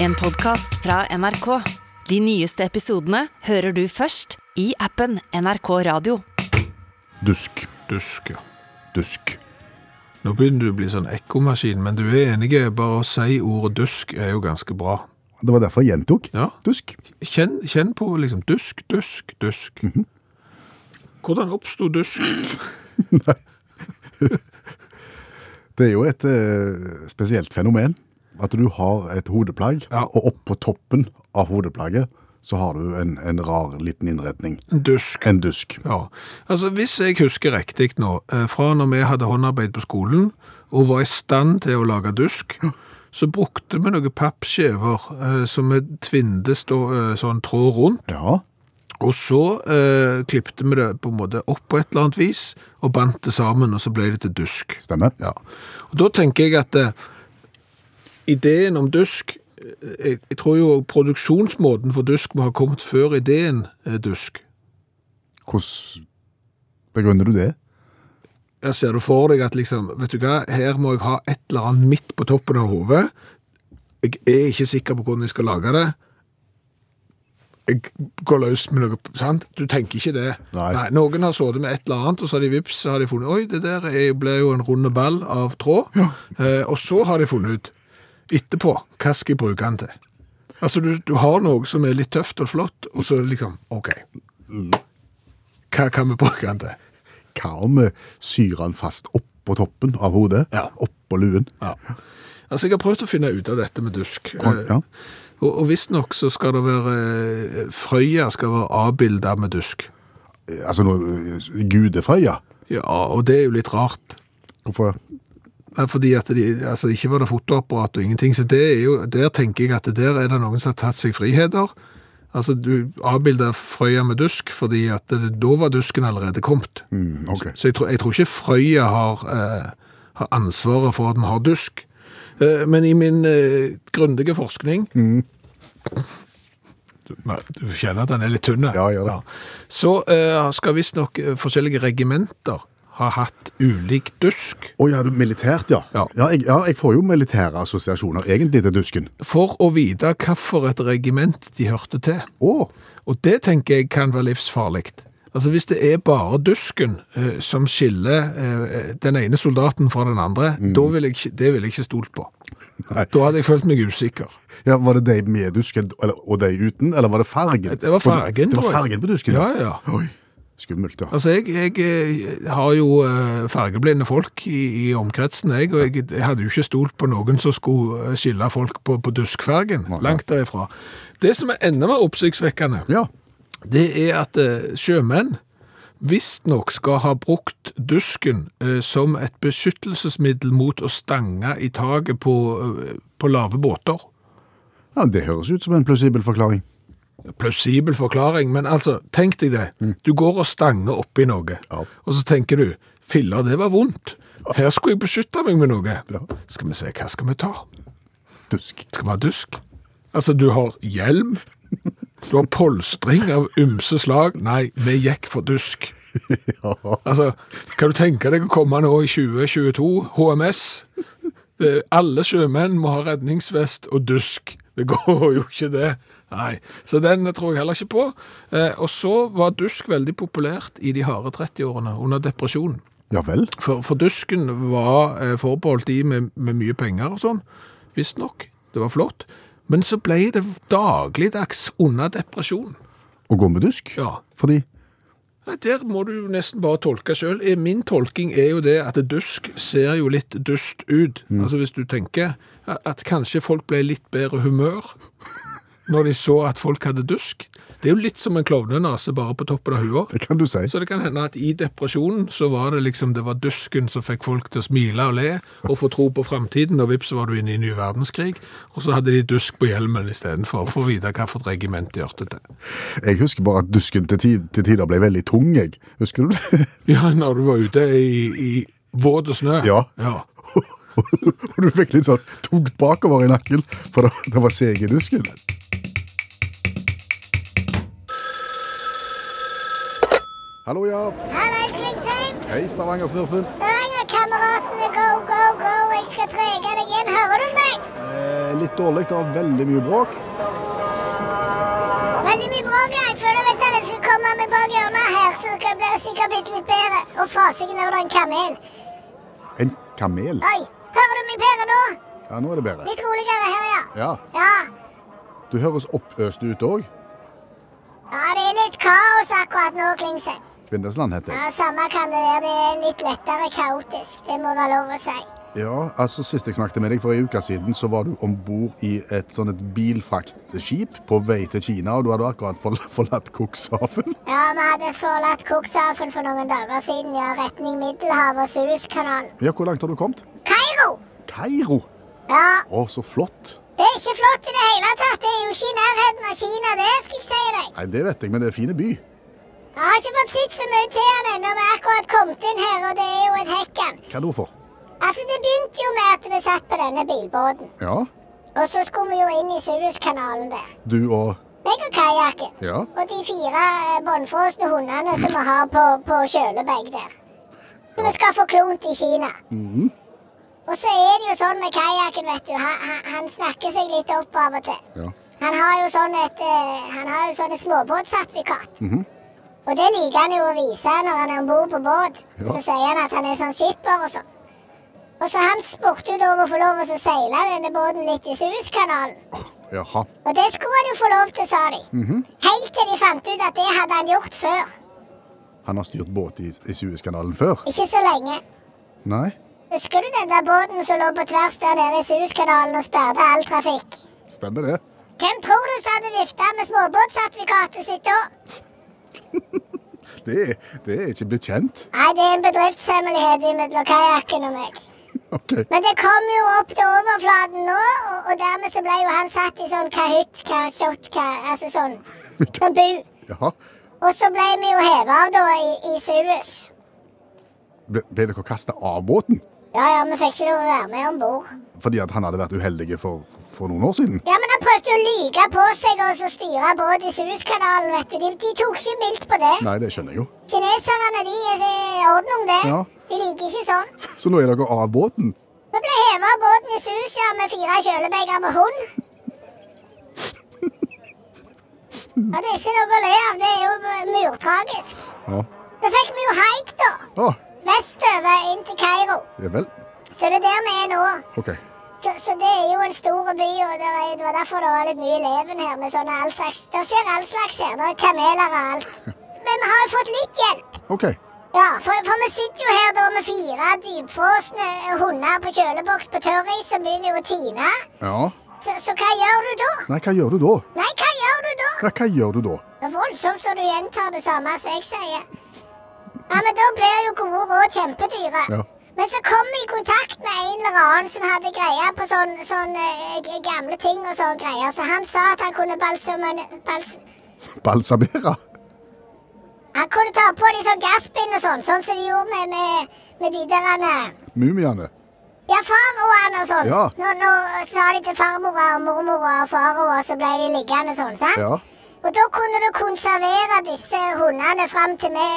En podcast fra NRK. De nyeste episodene hører du først i appen NRK Radio. Dusk. Dusk, ja. Dusk. Nå begynner du å bli sånn ekkomaskin, men du er enig, bare å si ordet dusk er jo ganske bra. Det var derfor jeg gjentok. Ja. Dusk. Kjenn, kjenn på liksom dusk, dusk, dusk. Hvordan oppsto dusk? Det er jo et eh, spesielt fenomen. At du har et hodeplagg, Ja. og oppå toppen av hodeplagget så har du en, en rar liten innretning. Dusk. En dusk. Ja, altså hvis jeg husker riktig nå, eh, fra når vi hadde håndarbeid på skolen, og var i stand til å lage dusk, så brukte vi noen pappskjever eh, som vi tvinde stå, eh, sånn tråd rundt, Ja. Og så eh, klippte vi det på en måte opp på et eller annet vis, og bandt det sammen, og så ble det til dusk. Stemmer. Ja. Og da tenker jeg at eh, ideen om dusk eh, jeg, jeg tror jo produksjonsmåten for dusk må ha kommet før ideen eh, dusk. Hvordan begrunner du det? Jeg ser du for deg at liksom, vet du hva, her må jeg ha et eller annet midt på toppen av hodet. Jeg er ikke sikker på hvordan jeg skal lage det. Jeg går løs med noe, sant? Du tenker ikke det. Nei. noen har så det med et eller annet, og så har de vips, så har de funnet, oi, det der er- ble jo en runde ball av tråd. Eh, og så har de funnet ut, etterpå, hva skal jeg bruke den til? Altså, du, du har noe som er litt tøft og flott, og så liksom, ok. Hva kan vi bruke den til? Hva om vi syr den fast oppå toppen av hodet? Ja. Oppå luen? Ja. Altså, jeg har prøvd å finne ut av dette med dusk. Kon- ja. Eh, Og, og visstnok så skal det være eh, Frøya skal være avbilda med dusk. Eh, Altså noe gudefrøya? Ja, og det er jo litt rart. Hvorfor? Nei, Fordi at de, altså, ikke var det fotoapparat og ingenting, så det er jo, der tenker jeg at det der er det noen som har tatt seg friheter. Altså, du avbilder Frøya med dusk, fordi at det, da var dusken allerede kommet. Mm, ok. Så jeg tror, jeg tror ikke Frøya har, eh, har ansvaret for at vi har dusk. Eh, men i min eh, grundige forskning Mm. du, men du kjenner at den er litt tynne. Ja, gjør det. Så eh, skal visstnok eh, forskjellige regimenter ha hatt ulik dusk. Å ja, du, militært, ja. Ja. jeg, ja. Jeg får jo militære assosiasjoner egentlig til dusken. For å vite hvilket regiment de hørte til. Å! Og det tenker jeg kan være livsfarlig. Altså Hvis det er bare dusken eh, som skiller eh, den ene soldaten fra den andre, da vil jeg, ikke- det ville jeg ikke stolt på. Nei. Da hadde jeg følt meg usikker. Ja, Var det de med dusken eller, og de uten, eller var det fargen? Det var fargen, det var tror jeg. fargen på dusken? Ja, ja. Oi, skummelt, ja. Altså, jeg, jeg eh, har jo eh, fargeblinde folk i, i omkretsen, jeg, og jeg, jeg hadde jo ikke stolt på noen som skulle eh, skille folk på, på duskfargen. Langt derifra. Det som er enda mer oppsiktsvekkende, Ja, det er at eh, sjømenn visstnok skal ha brukt dusken eh, som et beskyttelsesmiddel mot å stange i taket på, eh, på lave båter. ja Det høres ut som en plausibel forklaring. Plausibel forklaring, men altså, tenk deg det. Du går og stanger oppi noe, Mm. Ja. og så tenker du Filler, det var vondt. Her skulle jeg beskytte meg med noe. Ja. Skal vi se, hva skal vi ta? Dusk. Skal vi ha dusk? Altså, du har hjelm, du har polstring av ymse slag. Nei, vi gikk for dusk. Ja. Altså, kan du tenke deg å komme nå i 2022, HMS? Det, Eh, alle sjømenn må ha redningsvest og dusk. Det går jo ikke det. Nei, så den tror jeg heller ikke på. Eh, og så var dusk veldig populært i de harde 30-årene under depresjonen. ja vel. For, for dusken var eh, forbeholdt de med, med mye penger og sånn. Visst nok, det var flott. Men så ble det dagligdags under depresjon. Å gå med dusk? Ja. Fordi Nei, Der må du jo nesten bare tolke sjøl. Min tolking er jo det at dusk ser jo litt dust ut. Altså Hvis du tenker at- at kanskje folk ble litt bedre humør når de så at folk hadde dusk. Det er jo litt som en klovnenase bare på toppen av huet. Det kan du si. Så det kan hende at i depresjonen så var det liksom det var dusken som fikk folk til å smile og le og få tro på framtiden, og vips så var du inne i ny verdenskrig. Og så hadde de dusk på hjelmen istedenfor, for å vite hvilket regiment de hørte til. Jeg husker bare at dusken til, tid, til tider ble veldig tung, jeg. Husker du det? Ja, når du var ute i, i våt og snø. Ja. Og du fikk litt sånn tungt bakover i nakken, for det, det var seg i dusken. Hallo, ja. Hallais, Klingsheim! Hei, Stavanger-smurfen. Stavanger-kameratene, go, go, go! Jeg skal trege deg inn, hører du meg? Eh, litt dårlig, det er veldig mye bråk. Veldig mye bråk her. Jeg føler at dere skal komme med bak hjørnet her, så dere blir sikkert blitt litt bedre. Og fasingen over en kamel. En kamel? Oi, hører du meg bedre nå? Ja, nå er det bedre. Litt roligere her, ja. Ja, Ja, Du høres opphøst ut òg. ja det er litt kaos akkurat nå, Klingsheim. Kvindesland heter jeg. Ja, samme kan det være. Det er litt lettere kaotisk. Det må være lov å si. Ja, altså Sist jeg snakket med deg for en uke siden, så var du om bord i et sånn et bilfraktskip på vei til Kina, og du hadde akkurat forla- forlatt Kokshaven. Ja, vi hadde forlatt Kokshafen for noen dager siden, ja. Retning Middelhavet og Suezkanalen. Ja, Hvor langt har du kommet? Kairo! Kairo! Ja, Å, så flott. det er ikke flott i det hele tatt. Det er jo ikke i nærheten av Kina, det skal jeg si deg. Nei, Det vet jeg, men det er fine by. Jeg har ikke fått sett så mye til han ennå. Vi har akkurat kommet inn her, og det er jo et hekkan. Hva da for? Altså, det begynte jo med at vi satt på denne bilbåten. Ja, Og så skulle vi jo inn i Suezkanalen der. du og Meg og kajakken. Ja. Og de fire eh, båndfrosne hundene som vi har på, på kjølebag der. Som vi skal få klont i Kina. Og så er det jo sånn med kajakken, vet du. Han, han- han snakker seg litt opp av og til. Ja. Han har jo sånn et eh, Han har jo sånn et småbåtsertifikat. Og det liker han jo å vise når han er om bord på båt. Ja. Så sier han at han er sånn skipper og sånn. Og så han spurte jo da om å få lov å seile denne båten litt i Suezkanalen. Jaha. Og det skulle han jo få lov til, sa de. Helt til de fant ut at det hadde han gjort før. Han har styrt båt i, i Suezkanalen før? Ikke så lenge. Nei? Husker du den der båten som lå på tvers der nede i Suezkanalen og sperret all trafikk? Stemmer det. Hvem tror du som hadde vifta med småbåtsertifikatet sitt da? Det, er- det er ikke blitt kjent. Nei, det er en bedriftshemmelighet mellom kajakken og meg. OK. Men det kom jo opp til overflaten nå, og, og dermed så ble jo han satt i sånn kahytt, kashot, ka, altså sånn, sånn bu. Jaha. Og så ble vi jo hevet av da i, i Suez. Ble, ble dere kasta av båten? Ja, ja, vi fikk ikke lov å være med ombord. Fordi at han hadde vært uheldig for, for noen år siden? Ja, men han prøvde å lyge på seg og så styre båt i Suezkanalen, vet du. De, de tok ikke mildt på det. Nei, det skjønner jeg jo. Kineserne, de er er ordnung, det. Ja. De liker ikke sånn. Så nå er dere av båten? Vi ble hevet av båten i Suez ja, med fire kjølebeger med hund. Ja, det er ikke noe å le av. Det er jo murtragisk. Ja. Så fikk vi jo haik, da. Å, Vestover inn til Kairo. ja vel. Så det er der vi er nå. OK. Så, så det er jo en stor by, og det, er, det var derfor det var litt mye leven her. med sånne all slags, Det skjer all slags her. Det er kameler og alt. Men vi har jo fått litt hjelp. ok. Ja, for, for vi sitter jo her da med fire dypfrosne hunder på kjøleboks på tørris som begynner jo å tine. Ja. Så, så hva gjør du da? Nei, hva gjør du da? Nei, hva gjør du da? Ja, hva gjør du da? Det er voldsomt så du gjentar det samme som jeg sier. Ja, men da blir jo gode råd kjempedyre. Ja. Men så kom vi i kontakt med en eller annen som hadde greie på sånn, sånn eh, g- gamle ting og sånn greier. Så han sa at han kunne balsamane... Bals Balsamere? han kunne ta på de sånn gassbind og sånn, sånn som de gjorde med, med, med de der han, eh, Mumiene? Ja, faraoene og sånn. Ja. Nå, nå sa de til farmora og mormora og faraoer, så ble de liggende sånn, sant? Ja. Og da kunne du konservere disse hundene fram til vi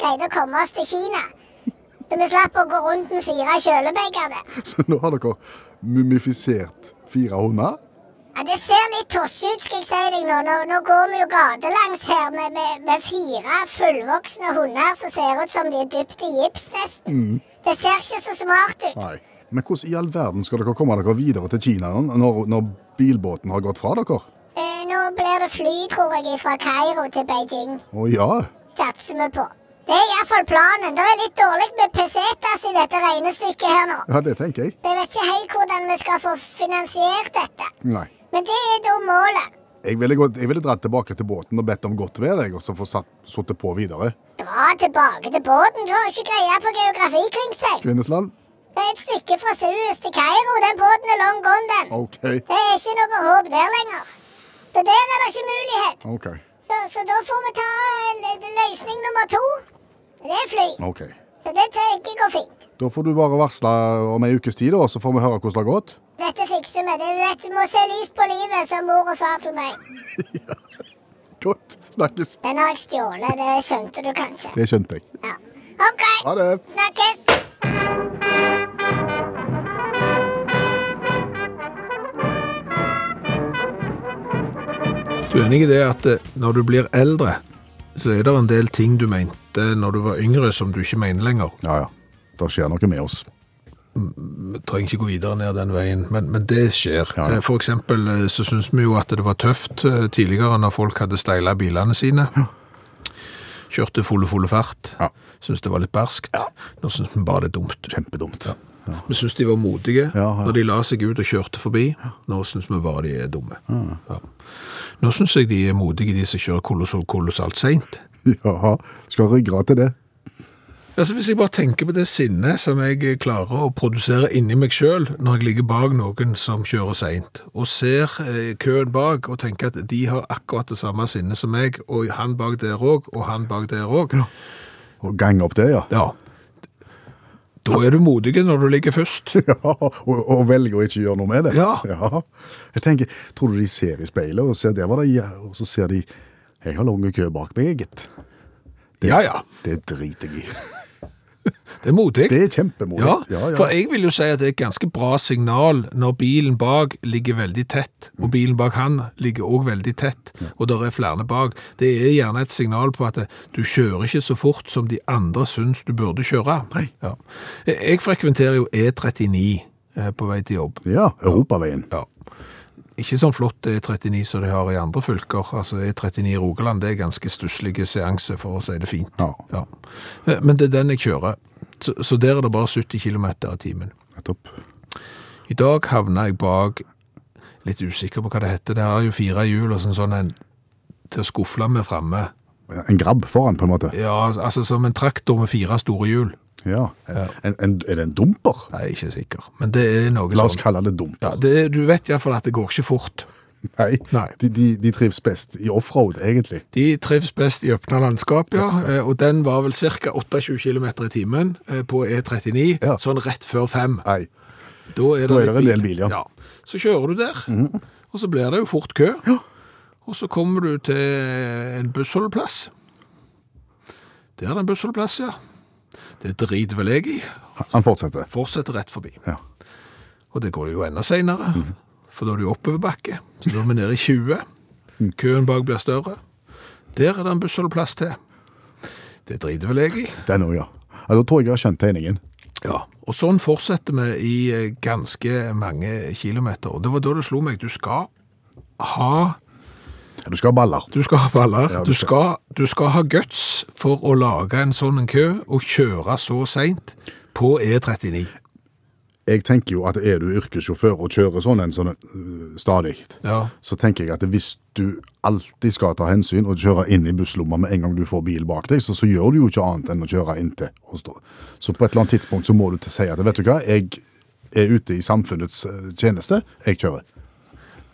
greide å komme oss til Kina. Så vi slapp å gå rundt med fire kjølebeger der. Så nå har dere mumifisert fire hunder? Ja, det ser litt tosse ut, skal jeg si deg nå. Nå, nå går vi jo gatelangs her med, med, med fire fullvoksne hunder som ser ut som de er dypt i gips, nesten. Det ser ikke så smart ut. Mm. Nei. Men hvordan i all verden skal dere komme dere videre til Kina når, når bilbåten har gått fra dere? Eh, nå blir det fly, tror jeg, fra Kairo til Beijing. Å ja. Satser vi på. Det er iallfall planen. Det er litt dårlig med pesetas i dette regnestykket her nå. Ja, det tenker jeg. Så jeg vet ikke helt hvordan vi skal få finansiert dette. Nei. Men det er da målet. Jeg ville, gått, jeg ville dratt tilbake til båten og bedt om godt vær, jeg, og så få satt- sittet på videre. Dra tilbake til båten. Du har jo ikke greie på geografi, Klingsheim. Kvinnesland? Det er et stykke fra Suez til Kairo. Den båten er long gone, den. OK. Det er ikke noe håp der lenger. Så der er det ikke mulighet. OK. Så, så da får vi ta eh, l- løsning nummer to. Det er fly. ok. Så det tenker jeg går fint. Da får du bare varsle om ei ukes tid, da, så får vi høre hvordan det har gått. Dette fikser vi. Det, du vet, du må se lyst på livet, sa mor og far til meg. Godt. Snakkes. Den har jeg stjålet. Det skjønte du kanskje. Det skjønte jeg. Ja. OK. Ha det. Snakkes. Du er enig i det at eh, når du blir eldre, så er det en del ting du mente når du var yngre som du ikke mener lenger. Ja, ja. Det skjer noe med oss. Vi trenger ikke gå videre ned den veien, men, men det skjer. Ja, ja. Eh, For eksempel eh, så synes vi jo at det var tøft eh, tidligere når folk hadde steilet bilene sine. Kjørte fulle, fulle fart. Ja. Synes det var litt berskt. Nå synes vi bare det er dumt. Kjempedumt. Vi synes de var modige Ja, ja. når de la seg ut og kjørte forbi. Nå synes vi bare de er dumme. Ja. Nå synes jeg de er modige, de som kjører kolossalt, kolossalt sent. Ja, skal ryggrad til det. Altså, hvis jeg bare tenker på det sinnet som jeg klarer å produsere inni meg sjøl når jeg ligger bak noen som kjører seint, og ser eh, køen bak og tenker at de har akkurat det samme sinnet som meg, og han bak der òg, og han bak der òg ja. Og gange opp det, ja. Da er du modig når du ligger først. Ja, og, og velger å ikke gjøre noe med det. Ja. Jeg tenker, tror du de ser i speilet, og, ser, der var det, jæ- og så ser de Jeg har lang kø bak meg, gitt. Ja ja, Det driter jeg i. det er modig. Det er kjempemodig. Ja, ja, ja. for jeg vil jo si at det er et ganske bra signal når bilen bak ligger veldig tett, Mm. og bilen bak han ligger også veldig tett, og der er flere bak. Det er gjerne et signal på at eh, du kjører ikke så fort som de andre syns du burde kjøre. Nei. Ja. Jeg jeg frekventerer jo E39 eh, på vei til jobb. ja Europaveien. Ja. Ikke sånn flott E39 som de har i andre fylker. Altså E39 i Rogaland, det er ganske stusslige seanse, for å si det fint. Ja. Ja. Eh, Men det er den jeg kjører. Så, så der er det bare 70 km i timen. Nettopp. I dag havna jeg bak Litt usikker på hva det heter. Det har jo fire hjul og sånn, sånn en til å skufle med framme. En grabb foran, på en måte. Ja, altså som en traktor med fire store hjul. Ja. En, en, er det en dumper? Nei, jeg er ikke sikker. Men det er noe La oss sånn. kalle det dumper. Ja, det, du vet iallfall at det går ikke fort. Nei, Nei. De, de, de trives best i offroad, egentlig. De trives best i åpna landskap, ja. Eh, Og den var vel ca. 28 km i timen eh, på E39, Ja. sånn rett før fem. Nei. Da er det, Da er det litt en del bil, ja. Så kjører du der, og så blir det jo fort kø. Og så kommer du til en bussholdeplass. Det er det en bussholdeplass, ja. Det driter vel jeg i. Han fortsetter. Fortsetter rett forbi. Ja. Og det går jo enda senere, for da er det jo oppoverbakke. Så da er vi nede i 20. Køen bak blir større. Der er det en bussholdeplass til. Det driter vel jeg i. Den òg, ja. ja. Da tror jeg jeg har skjønt tegningen. Ja, og sånn fortsetter vi i eh, ganske mange kilometer. Og det var da det slo meg, du skal ha, Ja, Du skal ha baller. du skal ha baller, Ja, du du, skal, du skal ha guts for å lage en sånn en kø og kjøre så sent på E39. Jeg tenker jo at er du yrkessjåfør og kjører sånn en sånn øh, stadig, Ja. så tenker jeg at hvis du alltid skal ta hensyn og kjøre inn i busslomma med en gang du får bil bak deg, så, så gjør du jo ikke annet enn å kjøre inntil. Og stå. Så på et eller annet tidspunkt så må du til si at vet du hva, jeg er ute i samfunnets øh, tjeneste, jeg kjører.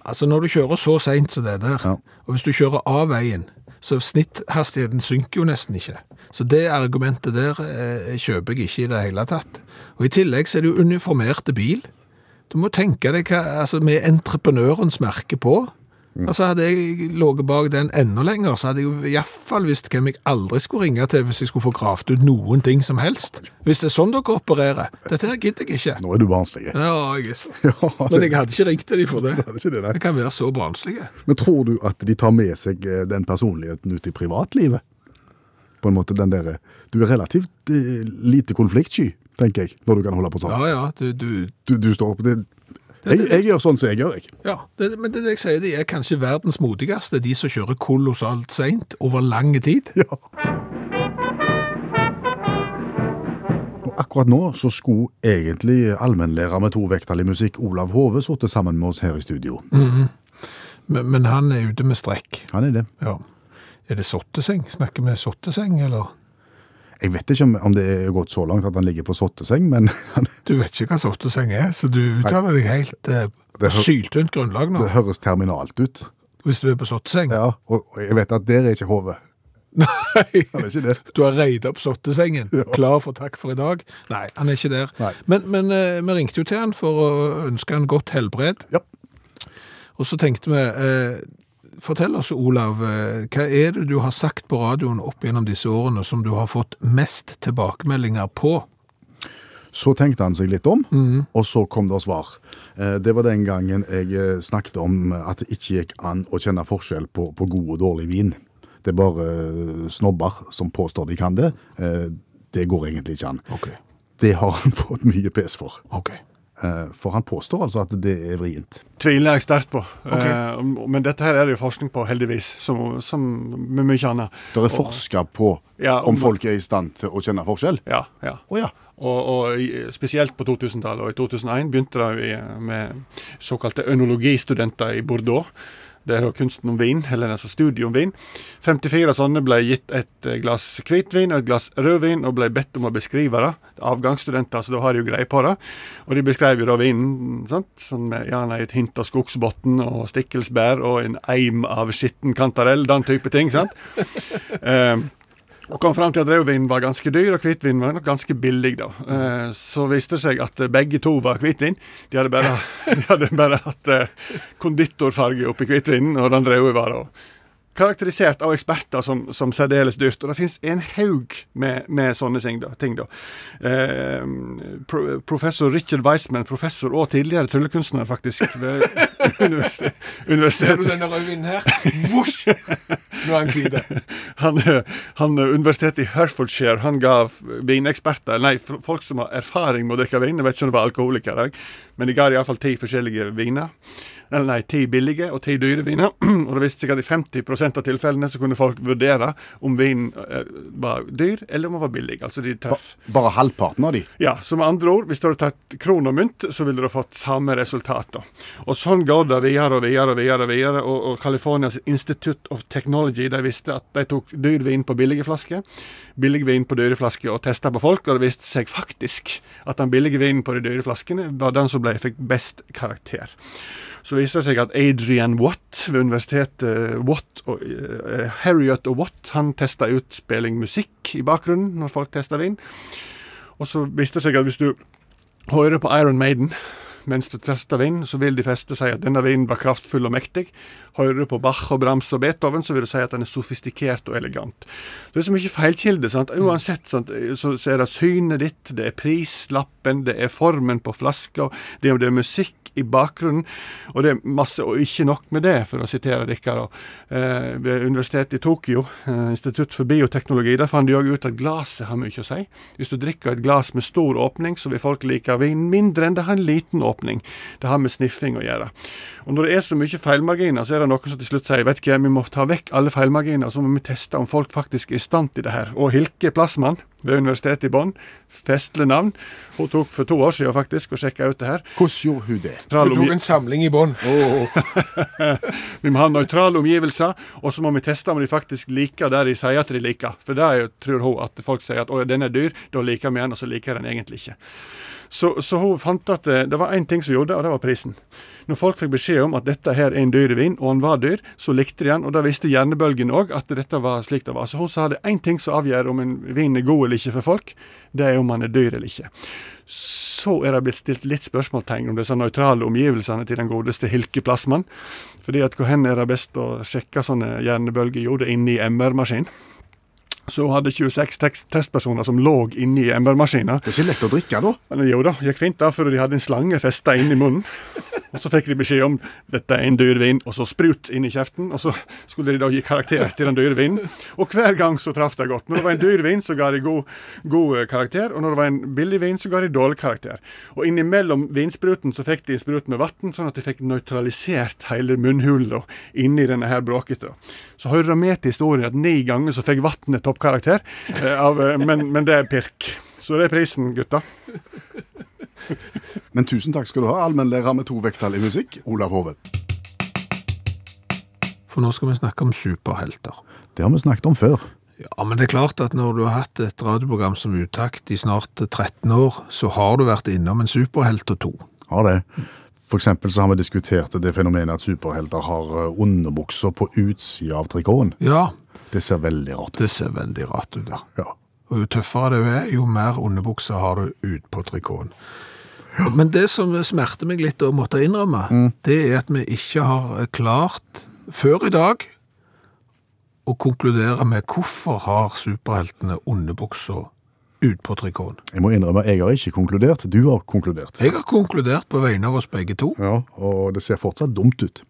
Altså når du kjører så sent som det der, Ja. og hvis du kjører av veien, så snitthastigheten synker jo nesten ikke. Så det argumentet der eh, kjøper jeg ikke i det hele tatt. Og i tillegg så er det jo uniformerte bil. Du må tenke deg hva, altså med entreprenørens merke på. Mm. Altså hadde jeg låget bak den enda lenger, så hadde jeg jo i hvert fall visst hvem jeg aldri skulle ringe til hvis jeg skulle få kraft ut noen ting som helst. Hvis det er sånn dere opererer. Dette her gidder jeg ikke. Nå er du barnslig. Ja, jeg er så. Ja, Men jeg hadde ikke ringt til dem for det. Det er ikke det, nei. Jeg kan være så barnslige. Men tror du at de tar med seg eh, den personligheten ut i privatlivet? På en måte den der, Du er relativt eh, lite konfliktsky, tenker jeg, når du kan holde på sånn. Ja, ja, du, du, Du, du står på det. Jeg, jeg gjør sånn som jeg gjør, jeg. ja. Det, men det, er det jeg sier, de er kanskje verdens modigste, de som kjører kolossalt sent over lang tid. Ja. Og akkurat nå så skulle egentlig allmennlærer med tovektig musikk, Olav Hove, sittet sammen med oss her i studio. Men, men han er ute med strekk. Han er det. Ja. Er det sotteseng? Snakker vi sotteseng, eller? Jeg vet ikke om, om det er gått så langt at han ligger på sotteseng, men han, Du vet ikke hva sotteseng er, så du uttaler deg helt eh, Det hø- syltynt grunnlag nå, det høres terminalt ut. hvis du er på sotteseng. Ja, og og jeg vet at der er ikke Hove. Nei. Han er ikke det. Du har reid opp sottesengen, klar for takk for i dag. Nei, han er ikke der. Nei. Men, men eh, vi ringte jo til han for å ønske han godt helbred. Ja. Og så tenkte vi, eh, fortell oss, Olav, eh, hva er det du har sagt på radioen opp gjennom disse årene som du har fått mest tilbakemeldinger på? Så tenkte han seg litt om, og så kom det svar. Eh, Det var den gangen jeg eh, snakket om at det ikke gikk an å kjenne forskjell på, på god og dårlig vin. Det er bare eh, snobber som påstår de kan det. Eh, Det går egentlig ikke an. Ok. Det har han fått mye pes for. Ok. Eh, For han påstår altså at det er vrient. Tviler jeg sterkt på. Eh, men dette her er det jo forskning på, heldigvis, som, som med mye annet. Det er forska på Ja, om om- folk er i stand til å kjenne forskjell. Ja, ja. Å ja. Og, og i- spesielt på 2000-tallet. Og i 2001 begynte det i- med såkalte ønologistudenter i Bordeaux. Det er da kunsten om vin, eller altså studiet om vin. 54 sånne ble gitt et eh, glass hvitvin og et glass rødvin, og ble bedt om å beskrive det. Avgangsstudenter, så da har de jo greie på det. Og de beskrev jo da vinen sant? Sånn med gjerne et hint av skogsbotn og stikkelsbær og en eim av skitten kantarell, den type ting. sant? Ehm, og kom fram til at rødvin var ganske dyr, og hvitvin var nok ganske billig. da. Eh, Så viste det seg at eh, begge to var hvitvin. De hadde bare, de hadde bare hatt eh, konditorfarge oppi hvitvinen, og den røde var da karakterisert av eksperter som, som særdeles dyrt. Og det finnes en haug med, med sånne ting. da. Ting, da. Eh, pro, professor Richard Weissman, professor og tidligere tryllekunstner, faktisk, ved universitet- Ser universitetet du denne rødvinen her? Vosj! Nå er han hvit. han, eh, han eh, Universitetet i Hertfordshire han ga f- vineksperter, nei, f- folk som har erfaring med å drikke vin, jeg vet ikke om det var alkoholikere, jeg, men de ga iallfall ti forskjellige viner. Eller nei, ti billige og ti dyre viner. og det viste seg at i 50 av tilfellene så kunne folk vurdere om vinen eh, var dyr eller om den var billig. Altså de treff. Bare halvparten av de. Ja, så med andre ord, hvis du hadde tatt kron og mynt, så ville du ha fått samme resultat. da. Og sånn går det videre og videre og videre. Og videre, og, og Californias Institute of Technology de visste at de tok dyr vin på billige flasker, billig vin på dyre flasker og testa på folk, og det viste seg faktisk at den billige vinen på de dyre flaskene var den som ble, fikk best karakter. Så viste det seg at Adrian Watt ved universitetet Watt og, eh, Harriet og Watt han testa ut spilling musikk i bakgrunnen når folk testa vin. Og så viste det seg at hvis du hører på Iron Maiden mens du tester vin, så vil de fleste si at denne vinen var kraftfull og mektig. Hører du på Bach og Brahms og Beethoven, så vil du si at den er sofistikert og elegant. Det er så mye feilkilde. sant? Uansett sant? Så, så er det synet ditt, det er prislappen, det er formen på flaska, det, er- det er musikk i bakgrunnen, og det er masse, og ikke nok med det, for å sitere dere, eh, ved Universitetet i Tokyo, eh, Institutt for bioteknologi, der fant de òg ut at glasset har mye å si. Hvis du drikker et glass med stor åpning, så vil folk like vin mindre enn det har en liten åpning. Det har med sniffing å gjøre. Og når det er så mye feilmarginer, så er det noen som til slutt sier vet du hva, vi må ta vekk alle feilmarginer, så må vi teste om folk faktisk er i stand til det her. Og Hilke Plassmann ved Universitetet i Bonn, festlig navn, hun tok for to år siden faktisk og sjekka ut det her. Hvordan gjorde hun det? Tral Du omgi- tok en samling i bånn. Vi må ha nøytrale omgivelser, og så må vi teste om de faktisk liker det de sier at de liker. For det er jo, tror hun at folk sier at 'å, den er dyr', da liker vi den, og så liker jeg den egentlig ikke. Så, så hun fant at eh, det var én ting som gjorde det, og det var prisen. Når folk fikk beskjed om at dette her er en dyr vin, og den var dyr, så likte de den, og da visste hjernebølgen òg at dette var slik det var. Så hun sa det er én ting som avgjør om en vin er god eller ikke for folk, det er om den er dyr eller ikke. Så er det blitt stilt litt spørsmålstegn om disse nøytrale omgivelsene til den godeste Hilke Plassmann. Fordi at hvor hen er det best å sjekke sånne hjernebølger? Jo, det er inne i MR-maskin. Så hun hadde 26 tekst- testpersoner som lå inne i MR-maskiner. Det er ikke lett å drikke, da. Men jo da, gikk fint da, før de hadde en slange festa inn i munnen. Og så fikk de beskjed om dette er en dyr vin, og så sprut inn i kjeften. Og så skulle de da gi karakter til den dyre vinen. Og hver gang så traff det godt. Når det var en dyr vin, så ga de god, god eh, karakter. Og når det var en billig vin, så ga de dårlig karakter. Og innimellom vinspruten så fikk de en sprut med vann, sånn at de fikk nøytralisert hele munnhula inni denne her bråkete. Så hører det med til historien at ni ganger så fikk vannet toppkarakter, eh, av, eh, men, men det er pirk. Så det er prisen, gutter. Men tusen takk skal du ha, allmennlærer med to vekttall i musikk, Olav Hove. For nå skal vi snakke om superhelter. Det har vi snakket om før. Ja, men det er klart at når du har hatt et radioprogram som uttakt i snart 13 år, så har du vært innom en superhelt og to. Har det. For eksempel så har vi diskutert det fenomenet at superhelter har eh, underbukser på utsida av trikoten. Ja, Det ser veldig rart ut. det ser veldig rart ut da. Ja. Og jo tøffere du er, jo mer underbukser har du ut på trikoten. Men det som smerter meg litt å måtte innrømme, det er at vi ikke har eh, klart før i dag å konkludere med hvorfor har superheltene underbukser ut på trikon. Jeg må innrømme, jeg har ikke konkludert. Du har konkludert. Jeg har konkludert på vegne av oss begge to. Ja, og det ser fortsatt dumt ut.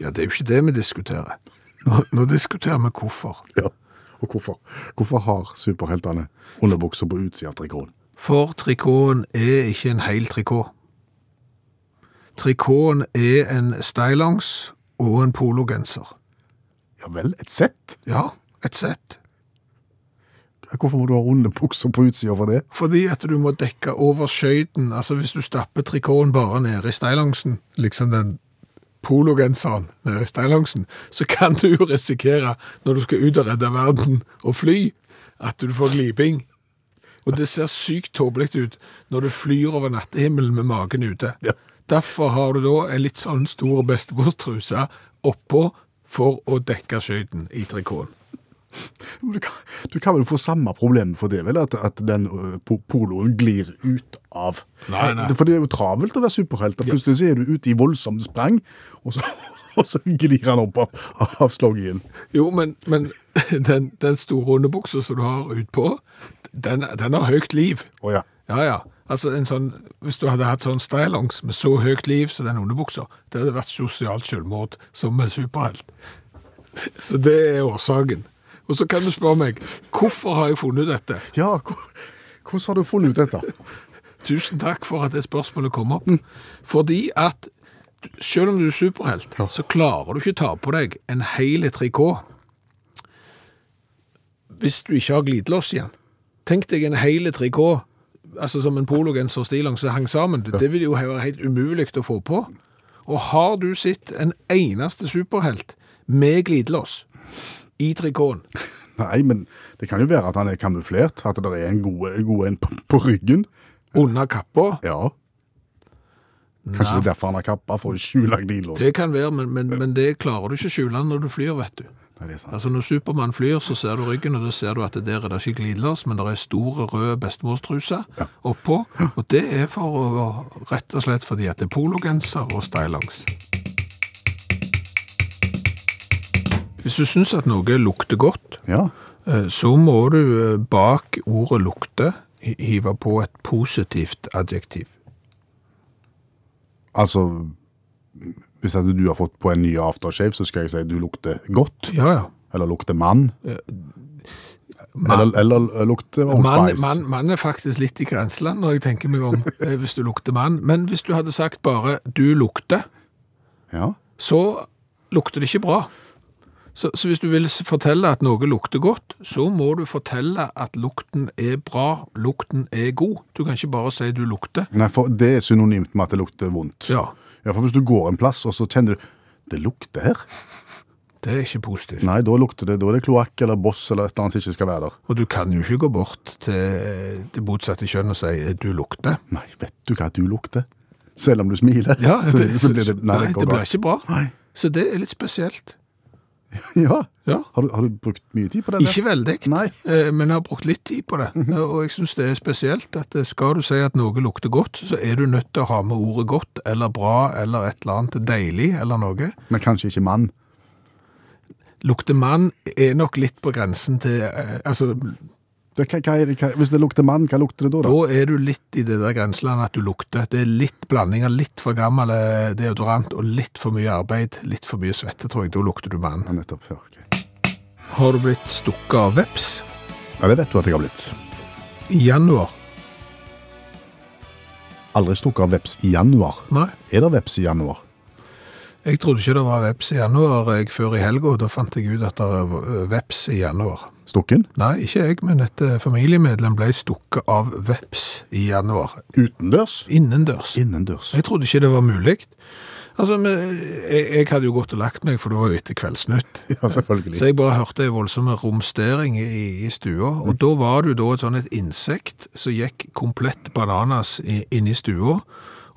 Ja, det er jo ikke det vi diskuterer. Nå, nå diskuterer vi hvorfor. Ja. Og hvorfor? Hvorfor har superheltene underbukser på utsida av trikoten? For trikoten er ikke en hel trikot. Trikoten er en stylongs og en pologenser. Ja vel, et sett? Ja, et sett. Hvorfor må du ha underbukser på utsida for det? Fordi at du må dekke over skøyten. Altså hvis du stapper trikoten bare nede i stylongsen, liksom den pologenseren nede i stylongsen, så kan du jo risikere, når du skal ut og redde verden og fly, at du får gliping. Og det ser sykt tåpelig ut når du flyr over nattehimmelen med magen ute. Ja. Derfor har du da en litt sånn stor bestemorstruse oppå for å dekke skøyten i trikoten. Men Du kan, du kan vel få samme problem for det, vel? At, at den ø, po- poloen glir ut av Eh, Nei, nei. For det er jo travelt å være superhelt. og Plutselig så er du ute i voldsomt sprang, og så, og så glir han opp av, av sloggien. Jo, men, men den, den store underbuksa som du har utpå, den, den har høyt liv. Å ja. Ja, ja. Altså, en sånn, Hvis du hadde hatt sånn stylongs med så høyt liv som den underbuksa, det hadde vært sosialt selvmord som en superhelt. Så det er årsaken. Og så kan du spørre meg hvorfor har jeg funnet ut dette. Ja, hvor- hvordan har du funnet ut dette? Tusen takk for at det spørsmålet kom opp. Fordi at selv om du er superhelt, så klarer du ikke ta på deg en hel trikot hvis du ikke har glidelås igjen. Tenk deg en hel trikot, altså som en pologenser og stillongs som hang sammen. Det vil jo være helt umulig å få på. Og har du sett en eneste superhelt med glidelås i trikoten? Nei, men det kan jo være at han er kamuflert, at det er en god, god en på, på ryggen. Under kappa? Ja. Kanskje det er derfor han har kappa, for å skjule glidelåsen. Det kan være, men, men, men det klarer du ikke skjule når du flyr, vet du. Nei, det er sant. Altså Når Supermann flyr, så ser du ryggen, og da ser du at det der er det ikke glidelås, men det er store, røde bestemorstruser oppå. Og det er for å, rett og slett fordi at det er pologenser og stylongs. Hvis du syns at noe lukter godt, Ja. eh, så må du eh, bak ordet 'lukte' hi- hive på et positivt adjektiv. Altså, hvis at du har fått på en ny aftershave, så skal jeg si du lukter godt, Ja, ja. eller lukter mann. Eller, eller lukter Old Mann, Spice. mann, mann er faktisk litt i grenseland når jeg tenker meg om, eh, hvis du lukter mann. Men hvis du hadde sagt bare 'du lukter', Ja. så lukter det ikke bra. Så, så hvis du vil s- fortelle at noe lukter godt, så må du fortelle at lukten er bra, lukten er god. Du kan ikke bare si du lukter. Nei, for det er synonymt med at det lukter vondt. Ja, Ja, for hvis du går en plass, og så kjenner du det lukter her. det er ikke positivt. Nei, da lukter det, da er det kloakk eller boss eller et eller annet som ikke skal være der. Og du kan jo ikke gå bort til det motsatte kjønn og si «Eh, du lukter. Nei, vet du hva du lukter? Selv om du smiler, så, så blir det Nei, det går blir galt. ikke bra. Nei. Så det er litt spesielt. Ja. Ja. Har, du, har du brukt mye tid på den? der? Ikke veldig, Nei. eh, men jeg har brukt litt tid på det. Eh, Og jeg syns det er spesielt at eh, skal du si at noe lukter godt, så er du nødt til å ha med ordet godt eller bra eller et eller annet deilig eller noe. Men kanskje ikke mann. Lukter mann er nok litt på grensen til eh, Altså, Det, hva, hva er det, hva, hvis det lukter mann, hva lukter det da? da? da er du litt i det der grenselandet at du lukter. Det er litt blanding av litt for gammel eh, deodorant og litt for mye arbeid, litt for mye svette, tror jeg. Da lukter du mann. Ja, nettopp. Ja, ok. Har du blitt stukket av veps ja, det vet du at jeg har blitt. i januar? Aldri stukket av veps i januar. Nei. Er det veps i januar? Jeg trodde ikke det var veps i januar jeg før i helga, og da fant jeg ut at det er v- veps i januar. Stukken? Nei, ikke jeg, men et eh, familiemedlem ble stukket av veps i januar. Utendørs? Innendørs. Innendørs. Jeg trodde ikke det var mulig. Altså, men jeg, jeg hadde jo gått og lagt meg, for det var jo etter Kveldsnytt. Ja, selvfølgelig. Så jeg bare hørte en voldsom romstering i, i stua, og da var det jo da et sånn et insekt som gikk komplett bananas i, inn i stua,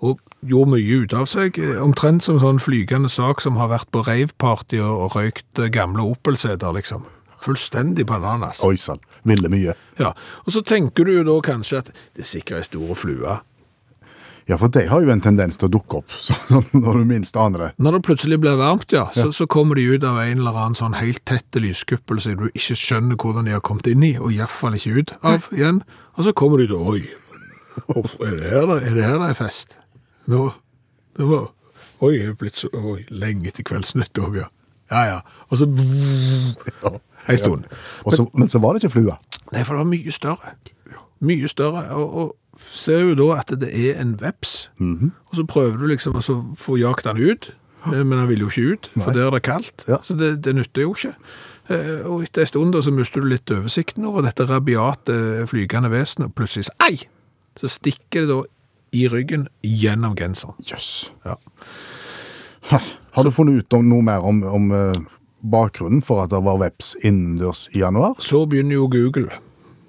og gjorde mye ut av seg, eh, omtrent som sånn flygende sak som har vært på raveparty og, og røykt eh, gamle Opel-seter, liksom. Fullstendig bananas. Oi sann, ville mye. Ja, og så tenker du jo da kanskje at det sikkert er store flua. Ja, for de har jo en tendens til å dukke opp så, sånn når du minst aner det. Når det plutselig blir varmt, ja, så, så kommer de ut av en eller annen sånn helt tett lyskuppel som du ikke skjønner hvordan de har kommet inn i, og iallfall ikke ut av igjen. Og så kommer de til Oi, er det her det er, det her det er fest? Nå, det var, Oi, jeg er blitt så oi, lenge etter Kveldsnytt òg, ja. Ja ja. Og så Ei stund. Og så- men så var det ikke flua. Nei, for det var mye større. Mye større. Og, og ser jo da at det er en veps, og så prøver du liksom å så få jakt den ut, eh, men han vil jo ikke ut, for der er det kaldt, Ja. så det, det nytter jo ikke. Eh, Og etter en stund da, så mister du litt oversikten over dette rabiate eh, flygende vesenet, og plutselig så, ei! Så stikker det da i ryggen gjennom genseren. Jøss. Ja. Ha, Har du funnet ut om, noe mer om, om eh, bakgrunnen for at det var veps innendørs i januar? Så begynner jo Google.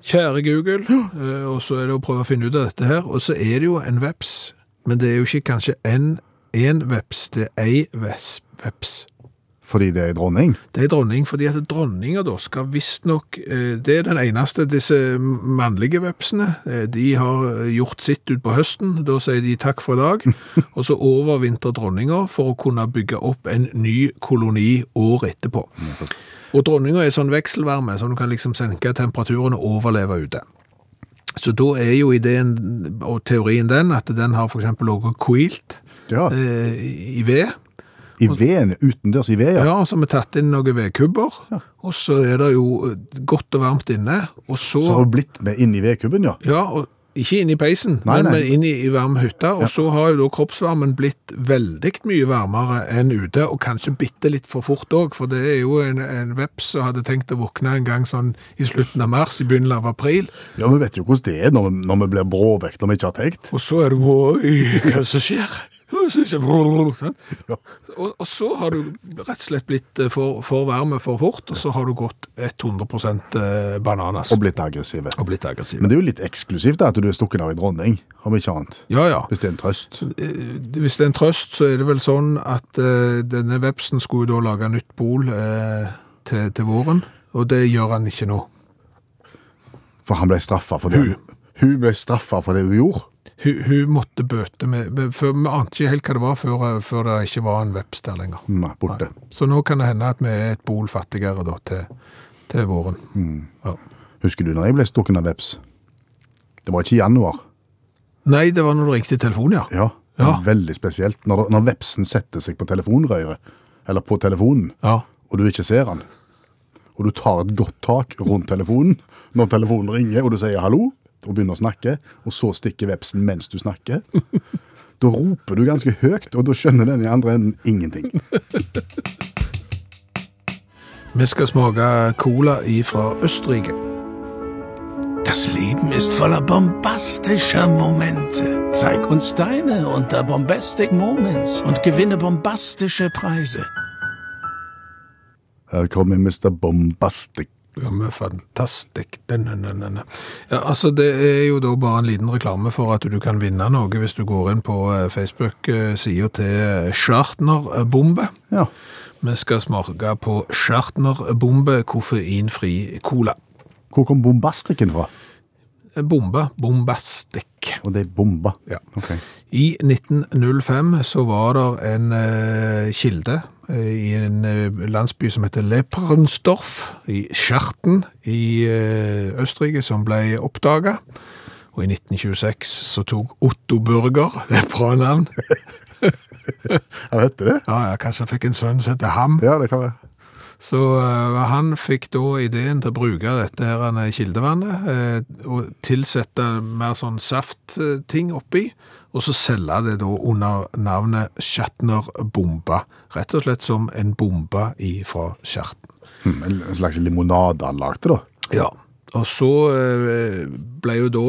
Kjære Google, eh, og så er det å prøve å finne ut av dette her, og så er det jo en veps, men det er jo ikke kanskje en, en veps, det er ei veps. veps. Fordi det er dronning? Det er dronning, fordi at dronninger da skal visstnok eh, Det er den eneste disse mannlige vepsene. eh, De har gjort sitt ut på høsten. Da sier de takk for i dag. Og så overvintrer dronninger for å kunne bygge opp en ny koloni året etterpå. Og dronninger er sånn vekselvarme, så du kan liksom senke temperaturen og overleve ute. Så da er jo ideen og teorien den at den har f.eks. ligget hvilt Ja. eh, i ved. I veden? Utendørs i ved, ja. Ja, og så har vi tatt inn noen vedkubber, og så er det jo eh, godt og varmt inne, og så, Så har hun blitt med inn i vedkubben, ja. ja, og, ikke inn i peisen, Nei, nei. men, men inn i, i varm hytte, og så har jo da kroppsvarmen blitt veldig mye varmere enn ute, og kanskje bitte litt for fort også, for det er jo en, en veps som hadde tenkt å våkne en gang sånn i slutten av mars, i begynnelsen av april, Ja, Vi vet jo hvordan det er når vi, når vi blir bråvekt når vi ikke har tenkt. og så er det, oi, hva er det som skjer? Og så er det- sant? Og, og så har du rett og slett blitt eh, for, for varme for fort, og så har du gått 100 eh, bananas. Og blitt aggressive. Og blitt aggressiv. Men det er jo litt eksklusivt da, at du er stukket av i dronning, om ikke annet. ja, ja. Hvis det er en trøst. Eh, Hvis det er en trøst, så er det vel sånn at eh, denne vepsen skulle jo da lage nytt bol eh, til, til våren, og det gjør han ikke nå. For han ble straffa for det hun, ble straffa for det hun gjorde. Hun, hun måtte bøte med, med for Vi ante ikke helt hva det var før, eh, før det ikke var en veps der lenger. Nei, borte. Så nå kan det hende at vi er et bol fattigere da til, til våren. Ja. Husker du når jeg ble stukket av veps? Det var ikke i januar. Nei, det var når du ringte i telefonen, ja. Ja, Ja. Veldig spesielt. Når, det- når vepsen setter seg på telefonrøret, eller på telefonen, Ja. og du ikke ser han, og du tar et godt tak rundt telefonen når telefonen ringer, og du sier hallo, og begynner å snakke, og så stikker vepsen mens du snakker, da roper du ganske høyt, og da skjønner den i andre enden ingenting. Vi skal smake cola ifra Østerrike. Das Leben ist voller bombastischer Momente. Zeig uns deine unter Bombastic Moments und gewinne bombastische Preise. Her kommer Mr. Bombastic. Ja, men fantastisk. Den, den, den, den. Ja, altså, det er jo da bare en liten reklame for at du kan vinne noe hvis du går inn på eh, Facebook-sida til Chartnerbombe. Ja. Vi skal smake på Chartnerbombe koffeinfri cola. Hvor kom bombastikken fra? Eh, Bombe. Bombastic. Og det er bomba. Ja. Ok. I 1905 så var det en eh, kilde eh, i en eh, landsby som heter Leprensdorf i Skjerten i eh, Østerrike som ble oppdaget. Og i 1926 så tok Otto Burger, det er et bra navn. Han heter det? Ja, ja, kanskje han fikk en sønn som heter Ham. Ja, det kan være. Så eh, han fikk da ideen til å bruke dette her eh, kildevannet eh, og tilsette mer sånn saftting oppi, og så selge det da under navnet Shatner-bomba. Rett og slett som en bomba ifra Skjerten. Hmm, En slags limonade han lagde, da. Ja. Og så eh, ble jo da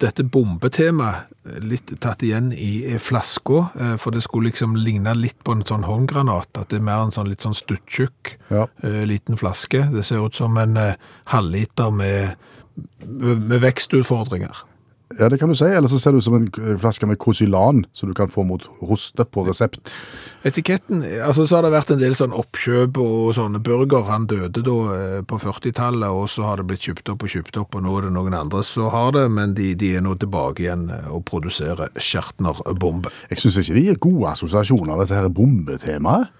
dette bombetemaet litt tatt igjen i flaska, eh, for det skulle liksom ligne litt på en sånn håndgranat, at det er mer en sånn litt sånn stuttjukk Ja. eh, liten flaske. Det ser ut som en eh, halvliter med, med, med vekstutfordringer. Ja, det kan du si. Eller så ser det ut som en k- flaske med Kosylan, som du kan få mot hoste på resept. Etiketten, altså så har det vært en del sånn oppkjøp og sånne burger. Han døde da eh, på 40-tallet, og så har det blitt kjøpt opp og kjøpt opp, og nå er det noen andre som har det, men de, de er nå tilbake igjen eh, og produserer Schertner-bombe. Jeg syns ikke de gir gode assosiasjoner, dette her bombetemaet.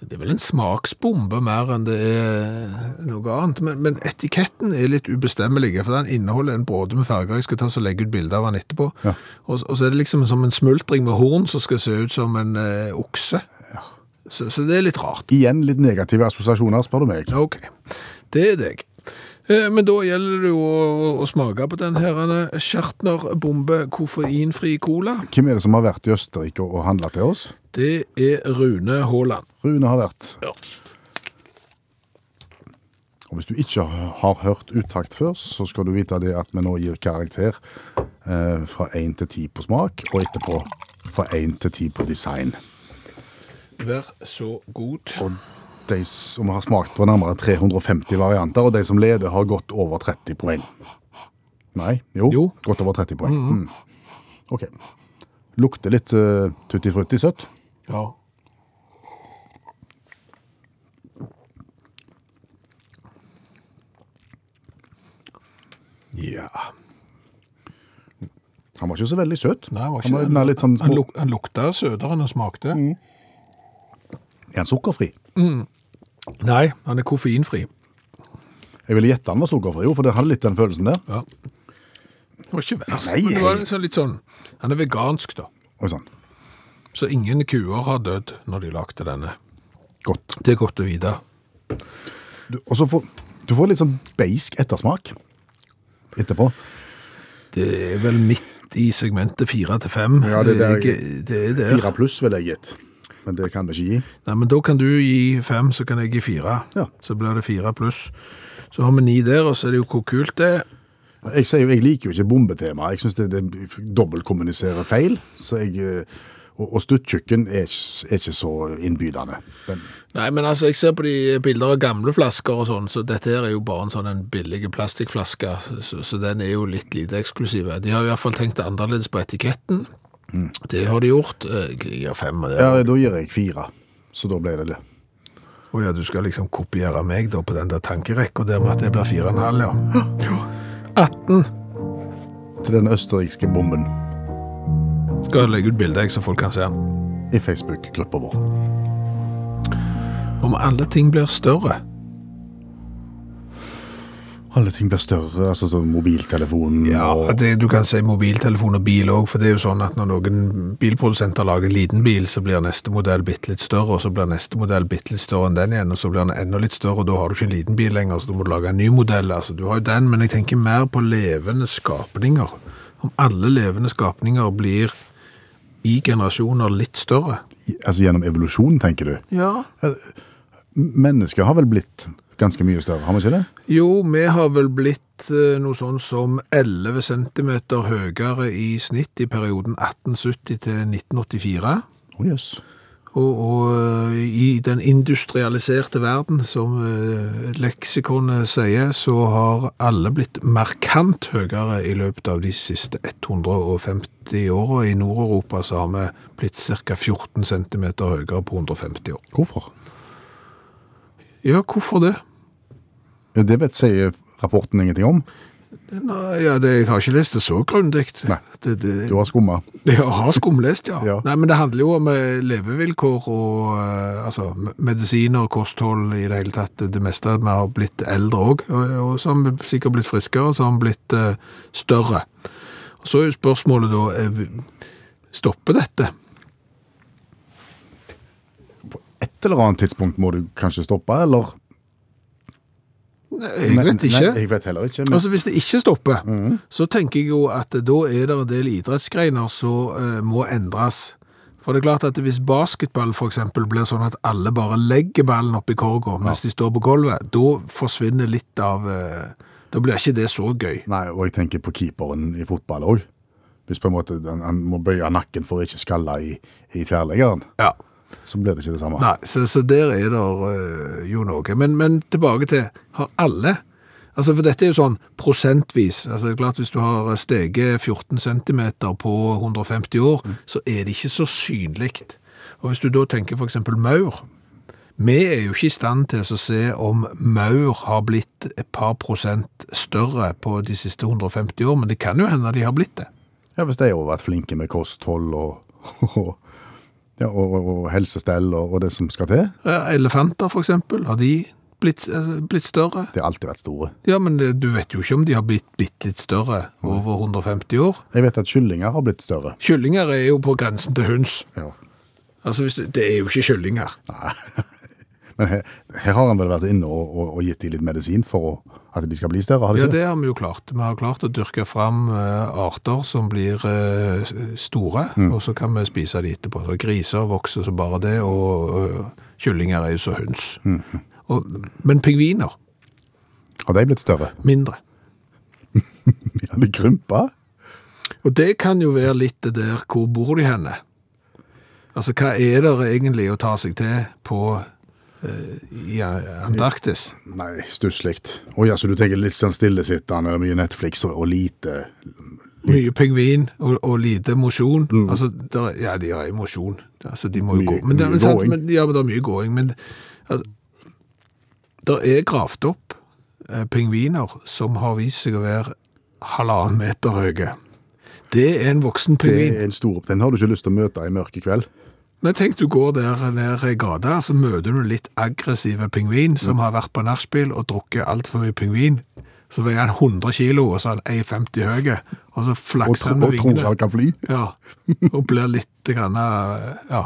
Det er vel en smaksbombe mer enn det er eh, noe annet, men, men etiketten er litt ubestemmelig, for den inneholder en bråde med farger. Jeg skal ta så legge ut bilder av den etterpå. Ja. Og, og så er det liksom som en smultring med horn som skal se ut som en eh, okse. Så, så det er litt rart. Igjen litt negative assosiasjoner, spør du meg. Ok, det er deg. Eh, Men da gjelder det jo å, å smake på den her Schertner-bombe koffeinfri cola. Hvem er det som har vært i Østerrike og handla til oss? Det er Rune Haaland. Rune har vært. Ja. Og hvis du ikke har hørt uttakt før, så skal du vite det at vi nå gir karakter eh, fra 1 til 10 på smak, og etterpå fra 1 til 10 på design. Vær så god. Og de som har smakt på nærmere 350 varianter, og de som leder, har gått over 30 poeng. Nei, jo, Jo. gått over 30 poeng. Mm. Ok. Lukter litt uh, tutti-frutti søtt. Ja. Ja. Han var ikke så veldig søt. Nei, var han ikke den er litt sånn Han, små... Mm. luk han lukta søtere enn han smakte. Er han sukkerfri? Nei, han er koffeinfri. Jeg ville gjette han var sukkerfri, jo, for det hadde litt den følelsen der. Ja. Det var ikke verst, Nei, men det var jeg- litt sånn, litt sånn Han er vegansk, da. Oi sånn. sann. Så ingen kuer har dødd når de lagde denne. Godt. Det er godt å vite. Du, og så får du får litt sånn beisk ettersmak etterpå. Det er vel midt i segmentet fire til fem. Ja, det er der jeg- Jeg- det er der. Fire pluss vil jeg gitt, men det kan vi ikke gi. Nei, men da kan du gi fem, så kan jeg gi fire. Ja. Så blir det fire pluss. Så har vi ni der, og så er det jo hvor kult det er. Jeg, sier jo, jeg liker jo ikke bombetema. Jeg syns det, det dobbeltkommuniserer feil. Så jeg, eh, og og stuttkjøkken er, ikke- er ikke så innbydende. Den, Nei, men altså, jeg ser på de bilder av gamle flasker og sånn, så dette her er jo bare en sånn en billig plastikkflaske, så, så den er jo litt lite eksklusiv. De har i hvert fall tenkt annerledes på etiketten. Det har de gjort. Eh, Jeg gir fem. og det er ja, da gir jeg fire. Så da ble det det. Å ja, du skal liksom kopiere meg da på den der tankerekka der med at det blir 4,5, ja. 18. Til den østerrikske bomben Skal jeg legge ut bilde, jeg, så folk kan se den. i Facebook-gruppa vår. Om alle ting blir større. Alle ting blir større, altså som mobiltelefonen og At det, du kan si mobiltelefon og bil òg, for det er jo sånn at når noen bilprodusenter lager en liten bil, så blir neste modell bitte litt større, og så blir neste modell bitte litt større enn den igjen, og så blir den enda litt større, og da har du ikke en liten bil lenger, så du må lage en ny modell. Altså, du har jo den, men jeg tenker mer på levende skapninger. Om alle levende skapninger blir i generasjoner litt større. Altså gjennom evolusjon, tenker du? Ja. Mennesket har vel blitt ganske mye større, har vi ikke det? Jo, vi har vel blitt eh, noe sånn som 11 cm høyere i snitt i perioden 1870 til 1984. Å jøss. Og, og eh, i den industrialiserte verden, som eh, leksikonet sier, så har alle blitt markant høyere i løpet av de siste 150 åra. I Nord-Europa så har vi blitt ca. 14 cm høyere på 150 år. Hvorfor? Ja, hvorfor det? Ja, Det vet sier rapporten ingenting om. Nei, ja, det, Jeg har ikke lest det så grundig. Nei. Det, det, Du har skumma. Jeg har skumlest, ja. Ja. Nei, men det handler jo om eh, levevilkår og eh, altså, me- medisiner, kosthold i det hele tatt. Det meste vi har blitt eldre òg. Og, og så har vi sikkert blitt friskere, så har vi blitt eh, større. Og Så er jo spørsmålet da eh, Stopper dette? Et eller annet tidspunkt må du kanskje stoppe, eller? Nei, Jeg vet ikke. Nei, jeg vet heller ikke. Men Altså Hvis det ikke stopper, så tenker jeg jo at da er det en del idrettsgreiner som eh, må endres. For det er klart at hvis basketball for eksempel blir sånn at alle bare legger ballen opp i korga mens de står på gulvet, da forsvinner litt av eh, Da blir ikke det så gøy. Nei, og jeg tenker på keeperen i fotball òg. Hvis på en måte den- han må bøye nakken for å ikke skalle i, i tverrleggeren, Ja. så blir det ikke det samme. eh, Nei, så, så der er det jo noe. Men, men tilbake til Har alle Altså, for dette er jo sånn prosentvis. Altså, det er klart Hvis du har steget 14 cm på 150 år, så er det ikke så synlig. Og hvis du da tenker f.eks. maur Vi er jo ikke i stand til å se om maur har blitt et par prosent større på de siste 150 år, men det kan jo hende de har blitt det. Ja, hvis de har vært flinke med kosthold og, og, ja, og, og, og helsestell og, og det som skal til. Eh, Elefanter, f.eks., har de blitt, eh, blitt større? De har alltid vært store. Ja, men det- du vet jo ikke om de har blitt bitte litt større over 150 år. Jeg vet at kyllinger har blitt større. Kyllinger er jo på grensen til hunds. Ja. Altså, hvis du, det er jo ikke kyllinger. Men her, her har han vel vært inne og, og, og gitt de litt medisin for å, at de skal bli større, har de Ja, ikke det? det har vi jo klart. Vi har klart å dyrke fram eh, arter som blir eh, s- store, Mm. og så kan vi spise de etterpå. Så griser vokser så bare det, og eh, kyllinger er jo så hunds. Mm. Og, men pingviner, Har de blitt større? mindre. Ja, de krympa. Og det kan jo være litt det der, hvor bor de henne? Altså, hva er det egentlig å ta seg til på eh, i Antarktis? Nei, stusslikt. Å ja, så du tenker litt sånn stillesittende, mye Netflix og, og lite Mye pingvin og, og lite mosjon. Altså, der, ja, de har jo mosjon. Altså, de må jo Mm. Mye- gå. Men det, mye men sant, gåing. Men, ja, men det er mye gåing. Men altså, det er gravd opp eh, pingviner som har vist seg å være halvannen meter høye. Det er en voksen Det pingvin. er en stor Den har du ikke lyst til å møte i mørke kveld. Men tenk du går der nede i gata, så møter du litt aggressive pingvin som har vært på nachspiel og drukket altfor mye pingvin. Så veier han 100 kilo, og så er han 1,50 høy, og så Og, flakser tro, han med og tror vingene. han kan fly. Ja, og blir litt grann, eh, ja,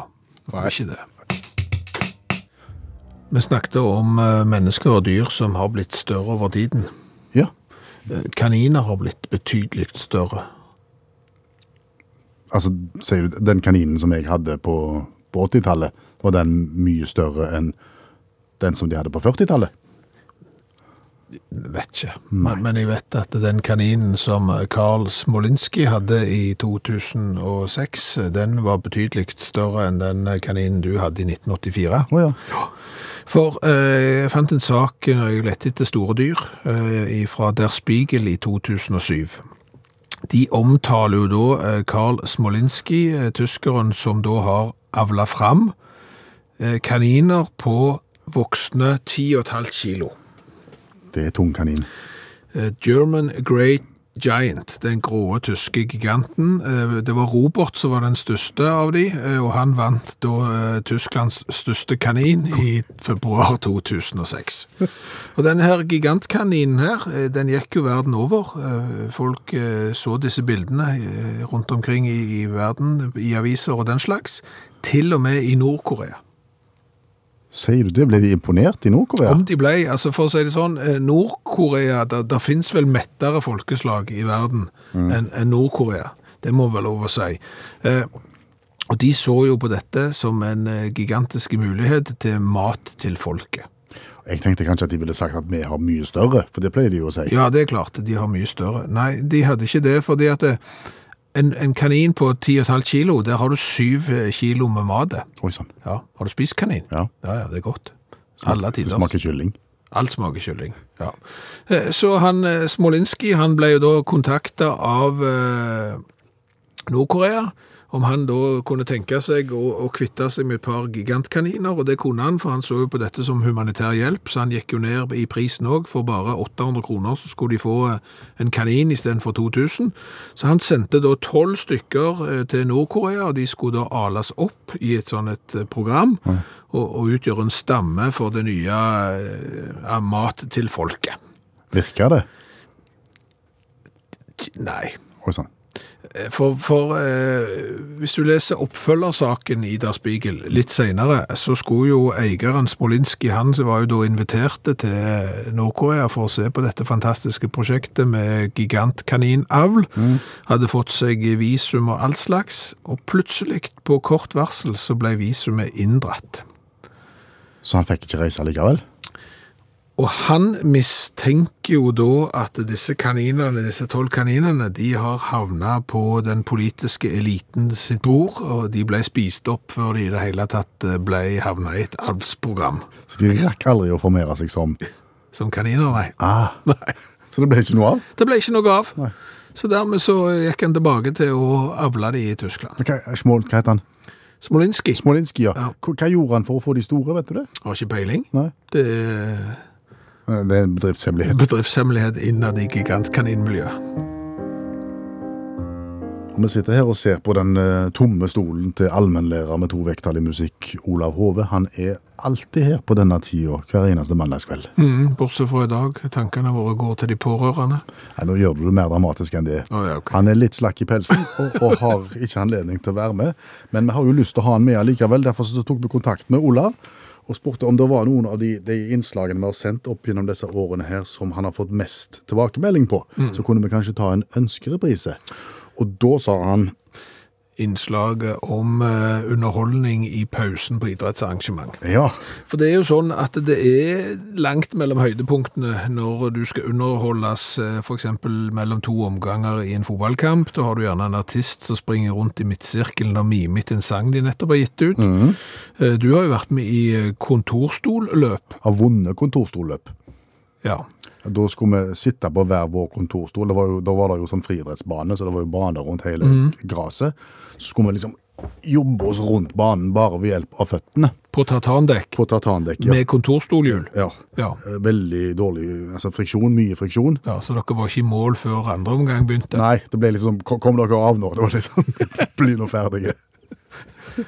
ikke det. Vi snakket om eh, mennesker og dyr som har blitt større over tiden. Ja. Eh, Kaniner har blitt betydelig større. Altså, sier du, den kaninen som jeg hadde på, på 80-tallet, var den mye større enn den som de hadde på 40-tallet? vet ikke. Men, men jeg vet at den kaninen som Karl Smolinski hadde i 2006, den var betydelig større enn den kaninen du hadde i 1984. Å ja. For eh, jeg fant en sak når jeg lette etter store dyr eh, fra Der Spiegel i 2007. De omtaler jo da eh, Karl Smolinski, eh, tyskeren som da har avla fram eh, kaniner på voksne 10,5 kilo. Det er tung kanin. Eh, German Great Giant, den grå tyske giganten. Eh, Det var Robert som var den største av de, eh, og han vant da eh, Tysklands største kanin i februar 2006. Og denne her gigantkaninen her, eh, den gikk jo verden over. Eh, Folk eh, så disse bildene eh, rundt omkring i i verden, i aviser og den slags, til og med i Nord-Korea. Sier du det? Ble de imponert i Nord-Korea? Om de ble, altså for å si det sånn, eh, Nord-Korea, der, der finnes vel mettere folkeslag i verden Mm. enn enn Nord-Korea. Det må vel lov å si. Eh, og de så jo på dette som en eh, gigantisk mulighet til mat til folket. Jeg tenkte kanskje at de ville sagt at vi har mye større, for det pleier de jo å si. Ja, det er klart, de har mye større. Nei, de hadde ikke det, fordi at eh, en, en kanin på 10,5 kilo, der har du 7 kilo med mat. Oi sann. Ja, har du spist kanin? Ja. Ja, ja, det er godt. Alle Det tider. smaker kylling. Alt smaker kylling. Ja. Eh, Så han, eh, Smolinski han ble jo da kontakta av eh, Nord-Korea om han da kunne tenke seg å, å kvitte seg med et par gigantkaniner, og det kunne han, for han så jo på dette som humanitær hjelp, så han gikk jo ned i prisen òg. For bare 800 kroner så skulle de få eh, en kanin istedenfor 2000. Så han sendte da tolv stykker eh, til Nord-Korea, og de skulle da ales opp i et sånn et eh, program, og, og utgjøre en stamme for det nye eh, mat til folket. Virker det? Nei. Oi sånn. sann. For, for eh, hvis du leser oppfølgersaken i Der Spiegel litt senere, så skulle jo eieren Smolinski, han som var jo da inviterte til Nord-Korea for å se på dette fantastiske prosjektet med gigantkaninavl, hadde fått seg visum og all slags, og plutselig på kort varsel så ble visumet inndratt. Så han fikk ikke reise likevel? Og han mistenker jo da at disse kaninene, disse tolv kaninene, de har havna på den politiske eliten sitt bord, og de ble spist opp før de i eh, det hele tatt ble havna i et avlsprogram. Så de rakk aldri å formere seg som som kaniner, nei. Ah, nei. så det ble ikke noe av? Det ble ikke noe av. Nei. Så dermed så gikk han tilbake til å avle de i Tyskland. Men Hva, Smol, hva heter han? Smolinski Smolinski, ja. Ja. Hva, hva gjorde han for å få de store, vet du det? har ikke peiling. Nei. Det er Det er en bedriftshemmelighet. bedriftshemmelighet innad i gigantkaninmiljøet. Og Vi sitter her og ser på den eh, tomme stolen til allmennlærer med to vekttall i musikk, Olav Hove. Han er alltid her på denne tida, hver eneste mandagskveld. Mm, bortsett fra i dag. Tankene våre går til de pårørende. Nei, nå gjør du det mer dramatisk enn det. er. Å, ja, ok. Han er litt slakk i pelsen og, og har ikke anledning til å være med. Men vi har jo lyst til å ha han med likevel, derfor så tok vi kontakt med Olav og spurte om det var noen av de, de innslagene vi har sendt opp gjennom disse årene her som han har fått mest tilbakemelding på. Så kunne vi kanskje ta en ønskereprise. Og da sa han Innslaget om eh, underholdning i pausen på idrettsarrangement. ja. For det er jo sånn at det er langt mellom høydepunktene når du skal underholdes f.eks. mellom to omganger i en fotballkamp. Da har du gjerne en artist som springer rundt i midtsirkelen og mimer til en sang de nettopp har gitt ut. Eh, Du har jo vært med i eh, kontorstolløp. Har vunnet kontorstolløp. Ja. Da skulle vi sitte på hver vår kontorstol. Det var jo, da var det jo sånn friidrettsbane, så det var jo baner rundt hele gresset. Så skulle vi liksom jobbe oss rundt banen bare ved hjelp av føttene På tartandekk på tartandekket. med kontorstolhjul. Ja. Ja. Eh, Veldig dårlig altså friksjon. Mye friksjon. ja. Så dere var ikke i mål før andre omgang begynte. Nei, det ble liksom Kom, kom dere av nå. Det var litt sånn Bli nå ferdige.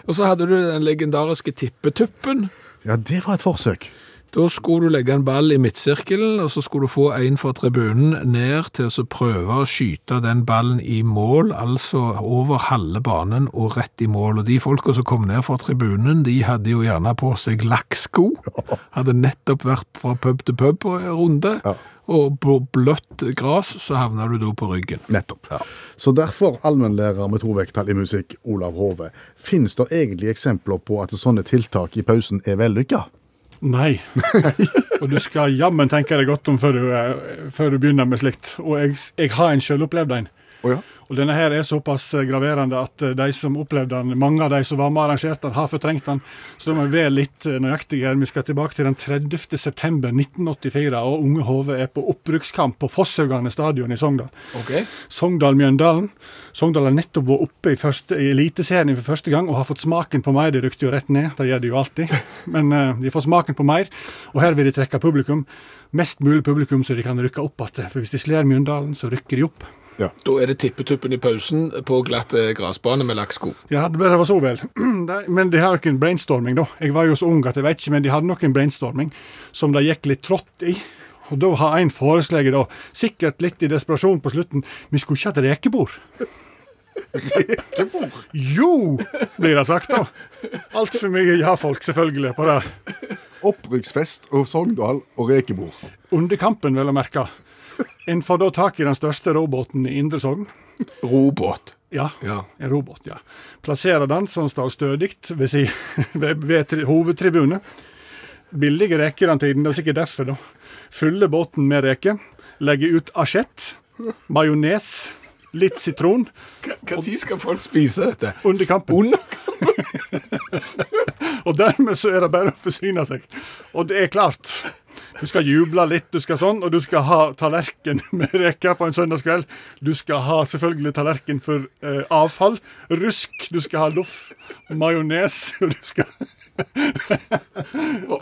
Og så hadde du den legendariske tippetuppen. Ja, det var et forsøk. Da skulle du legge en ball i midtsirkelen, og så skulle du få en fra tribunen ned til å så prøve å skyte den ballen i mål, altså over halve banen og rett i mål. Og de folka som kom ned fra tribunen, de hadde jo gjerne på seg lakksko. Hadde nettopp vært fra pub til pub på en runde. Ja. Og på bløtt gras så havna du da på ryggen. Nettopp. Så derfor allmennlærer med to vekttall i musikk, Olav Hove. Finnes det egentlig eksempler på at sånne tiltak i pausen er vellykka? Nei. og du skal jammen tenke deg godt om før du, eh, før du begynner med slikt. Og jeg, jeg har en sjølopplevd en. Å ja. Og denne her er såpass eh, graverende at eh, de som opplevde den, mange av de som var med og arrangerte den, har fortrengt den. Så da må vi være litt eh, nøyaktige. her. Vi skal tilbake til den 30. september 1984, og Unge Hove er på oppbrukskamp på Fosshaugane stadion i Sogndal. Sogndal-Mjøndalen. Sogndal har nettopp vært oppe i, første, i Eliteserien for første gang og har fått smaken på mer. De rykte jo rett ned, det gjør de jo alltid. Men eh, de får smaken på mer, og her vil de trekke publikum. Mest mulig publikum så de kan rykke opp igjen. For hvis de slår Mjøndalen, så rykker de opp. Da er det tippetuppen i pausen på glatt eh, grasbane med lakksko. Ja, det var så vel. De- Men de har jo ikke en brainstorming, da. Jeg var jo så ung at jeg vet ikke, men de hadde nok en brainstorming som de gikk litt trått i. Og da har en foreslått, da, sikkert litt i desperasjon på slutten, vi skulle ikke hatt rekebord. Rekebord? Jo, blir det sagt, da. Altfor mye ja-folk, selvfølgelig, på det. Opprykksfest og Sogndal og rekebord. Under kampen, vel å merke. En får da tak i den største robåten i Indre Sogn. Robåt. Ja, Ja. en robot, ja. Plasserer den så den står stødig ved, si, ved, ved tri, hovedtribunet. Billige reker den tiden, det er sikkert derfor, da. Fyller båten med reker. Legger ut asjett, majones, litt sitron Når skal folk spise dette? under kampen. og dermed så er det bare å forsyne seg. Og det er klart. Du skal juble litt, du skal sånn, og du skal ha tallerken med reker på en søndagskveld. Du skal ha selvfølgelig tallerken for eh, avfall. Rusk. Du skal ha loff. Majones. Og du skal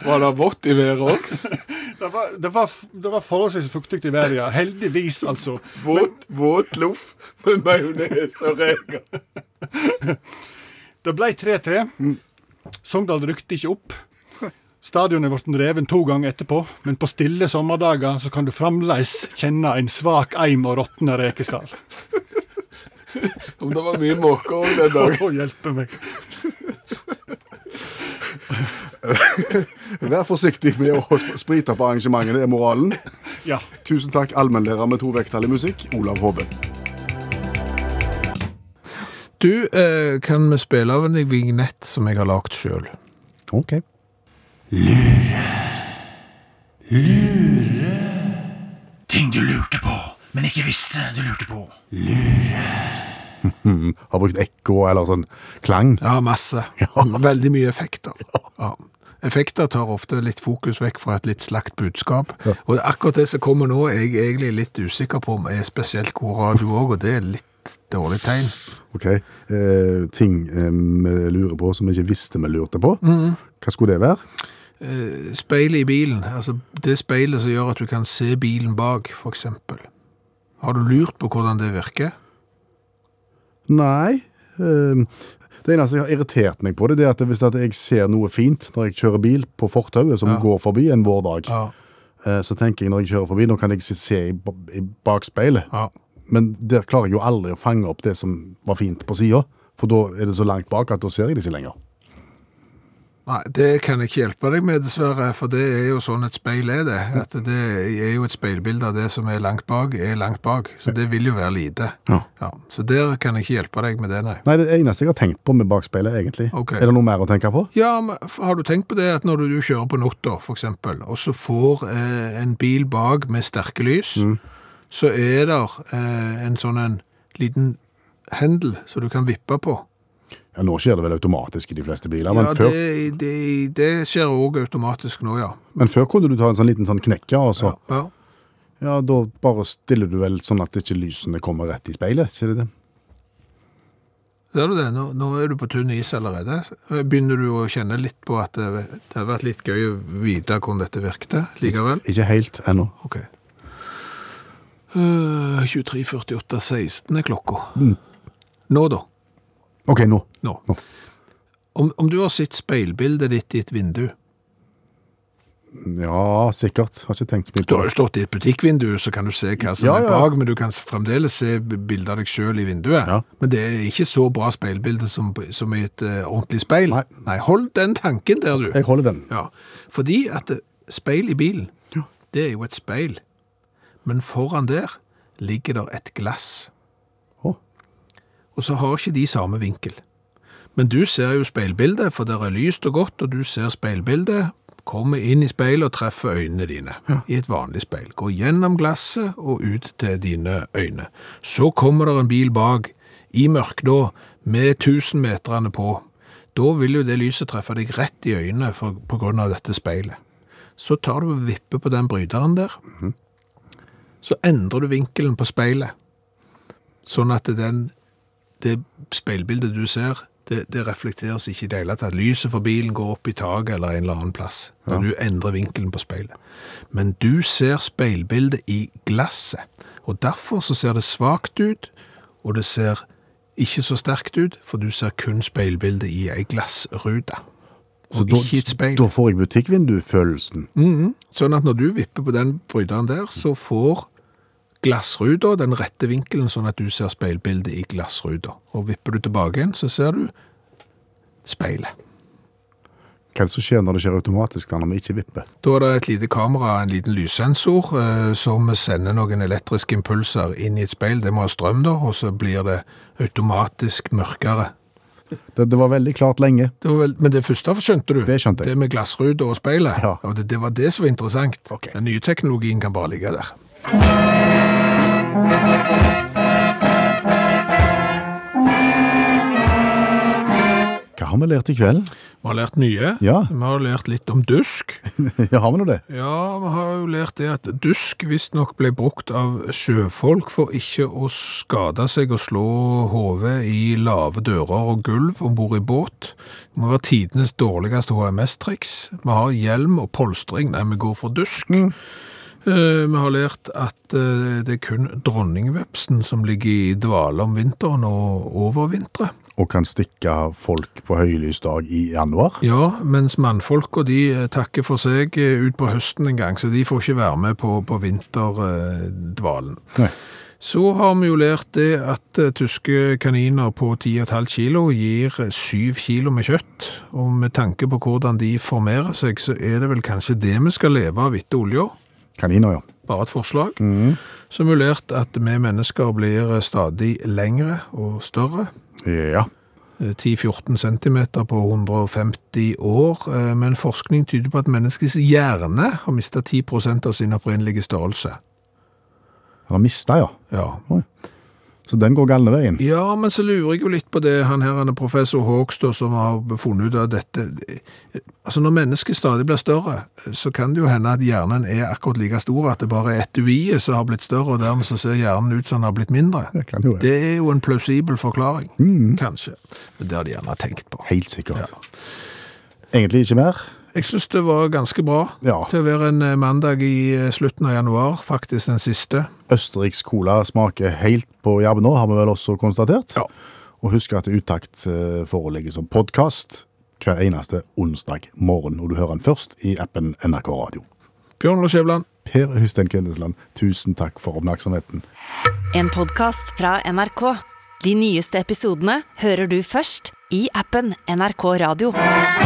Var det vått i været òg? det, var, det, var, det var forholdsvis fuktig i været, ja. Heldigvis, altså. Våt, våt loff med majones og reker. Det ble 3-3. Sogndal rykte ikke opp. Stadionet ble revet to ganger etterpå, men på stille sommerdager så kan du fremdeles kjenne en svak eim og råtne rekeskall. Om det var mye måker òg den Å, hjelpe meg. Vær forsiktig med å sp- sprite på arrangementet, det er moralen. Ja. Tusen takk, allmennlærer med to vekttall i musikk, Olav Hove. Du, eh, kan vi spille av en vignett som jeg har lagd sjøl? Ok. Ting du lurte på, men ikke visste du lurte på. Har brukt ekko eller sånn klang. Ja, masse. Veldig mye effekter. Ja. effekter tar ofte litt fokus vekk fra et litt slakt budskap. Og akkurat det som kommer nå, er jeg egentlig litt usikker på om er spesielt god radio òg, og det er litt dårlig tegn. Ok, eh, Ting eh, vi lurer på som vi ikke visste vi lurte på. Mm. Hva skulle det være? Speilet i bilen, altså det speilet som gjør at du kan se bilen bak, f.eks. Har du lurt på hvordan det virker? Nei. eh, det eneste jeg har irritert meg på, det, det er at hvis at jeg ser noe fint når jeg kjører bil på fortauet som går forbi en vårdag, Ja. eh, så tenker jeg når jeg kjører forbi, nå kan jeg se- se i, ba- i bakspeilet. Ja. Men der klarer jeg jo aldri å fange opp det som var fint på sida, for da er det så langt bak at da ser jeg det ikke lenger. Nei, det kan jeg ikke hjelpe deg med, dessverre, for det er jo sånn et speil er det. At det er jo et speilbilde av det som er langt bak, er langt bak. Så det vil jo være lite. Ja. så der kan jeg ikke hjelpe deg med det, nei. Nei, det eneste jeg har tenkt på med bakspeilet, egentlig. Ok. Er det noe mer å tenke på? Ja, men har du tenkt på det at når du kjører på natta, for eksempel, og så får eh, en bil bak med sterke lys, Mm. så er det eh, en sånn en liten hendel som du kan vippe på. Ja, nå skjer det vel automatisk i de fleste biler, men, Ja, før, det, det, det skjer også automatisk nå, ja. men før kunne du ta en sånn liten sånn knekk, ja, og så ja. Ja, da bare stiller du vel sånn at ikke lysene kommer rett i speilet, ikke det det? Ser du det? Nå, nå er du på tynn is allerede. Begynner du å kjenne litt på at det, det har vært litt gøy å vite hvordan dette virkte likevel? Ikke helt ennå. Ok. Uh, 23.48,16 er klokka. Nå da. OK, nå. Nå. Mm. Nå. Om, om du har sett speilbildet ditt i et vindu Ja, sikkert. Har ikke tenkt så mye Du på har det. jo stått i et butikkvindu, så kan du se hva som Ja, er ja. bak, men du kan fremdeles se bildet av deg sjøl i vinduet. Ja. Men det er ikke så bra speilbilde som, som i et eh, ordentlig speil. Nei. hold den tanken der, du. Jeg holder den. Ja, fordi at eh, speil i bilen, det er jo et speil. Men foran der ligger der et glass. Å. Og så har ikke de samme vinkel. Men du ser jo speilbildet, for det er lyst og godt, og du ser speilbildet, kommer inn i speilet og treffer øynene dine. I et vanlig speil. Går gjennom glasset og ut til dine øyne. Så kommer der en bil bak, i mørkblå, med 1000 meterne på. Da vil jo det lyset treffe deg rett i øynene for, på grunn av dette speilet. Så tar du og vipper på den bryteren der. Mhm. Så endrer du vinkelen på speilet, sånn at den det speilbildet du ser, det, det reflekteres ikke i det hele tatt. Lyset for bilen går opp i taket eller en eller annen plass. Når du endrer vinkelen på speilet. Men du ser speilbildet i glasset. Og derfor så ser det svagt ut, og det ser ikke så sterkt ut, for du ser kun speilbildet i ei glassrute. Så Og da, ikke i et speil. da får jeg butikkvindufølelsen. Sånn at når du vipper på den bryteren der, så får glassruta den rette vinkelen, sånn at du ser speilbildet i glassruta. Og vipper du tilbake igjen, så ser du speilet. Hva er det som skjer når det skjer automatisk, da, når vi ikke vipper? Da er det et lite kamera, en liten lyssensor, eh, som sender noen elektriske impulser inn i et speil. Det må ha strøm da, og så blir det automatisk mørkere. Det, det var veldig klart lenge. Det var vel, men det første skjønte du. Det skjønte jeg. Det med glassruta og speilet. Ja. Og det, det var det som var interessant. Den nye teknologien kan bare ligge der. Hva har vi lært i kveld? Vi har lært nye. Ja. Vi har lært litt om dusk. ja, har vi nå det? Ja, vi har jo lært det at dusk visstnok ble brukt av sjøfolk for ikke å skade seg og slå hodet i lave dører og gulv om bord i båt. Det må være tidenes dårligste HMS-triks. Vi har hjelm og polstring. Nei, vi går for dusk. Eh, Vi har lært at eh, det er kun dronningvepsen som ligger i dvale om vinteren og overvintrer. Og kan stikke folk på høylysdag i januar? Ja, mens mannfolka de eh, takker for seg eh, ut på høsten en gang, så de får ikke være med på, på vinterdvalen. Nei. Så har vi jo lært det at eh, tyske kaniner på 10,5 kilo gir 7 kilo med kjøtt, og med tanke på hvordan de formerer seg, så er det vel kanskje det vi skal leve av etter olja. Kaniner, ja. Bare et forslag. Simulert at vi mennesker blir eh, stadig lengre og større. Ja. Eh, 10-14 cm på 150 år, eh, men forskning tyder på at menneskets hjerne har mistet 10 av sin opprinnelige størrelse. Han har mista, ja. Ja. Oi. Så den går galne veien. Ja, men så lurer jeg jo litt på det han her, han er professor Hågstad, som har funnet ut av dette. Altså, når mennesket stadig blir større, eh, så kan det jo hende at hjernen er akkurat like stor, at det bare er etuiet som har blitt større, og dermed så ser hjernen ut som den har blitt mindre. Det kan jo være. Mm. Det er jo en plausibel forklaring, kanskje. Men det har de gjerne tenkt på. Helt sikkert. Egentlig ikke mer. Jeg synes det var ganske bra Ja. til å være en eh, mandag i eh, slutten av januar, faktisk den siste. Østerriks cola smaker helt på jabben nå, har vi vel også konstatert. Ja. Og husk at Utakt eh, foreligger som podkast hver eneste onsdag morgen. Og du hører den først i appen NRK Radio. Bjørn Lars Skjævland, Per Hustein Kvindesland, tusen takk for oppmerksomheten. En podkast fra NRK. De nyeste episodene hører du først i appen NRK Radio.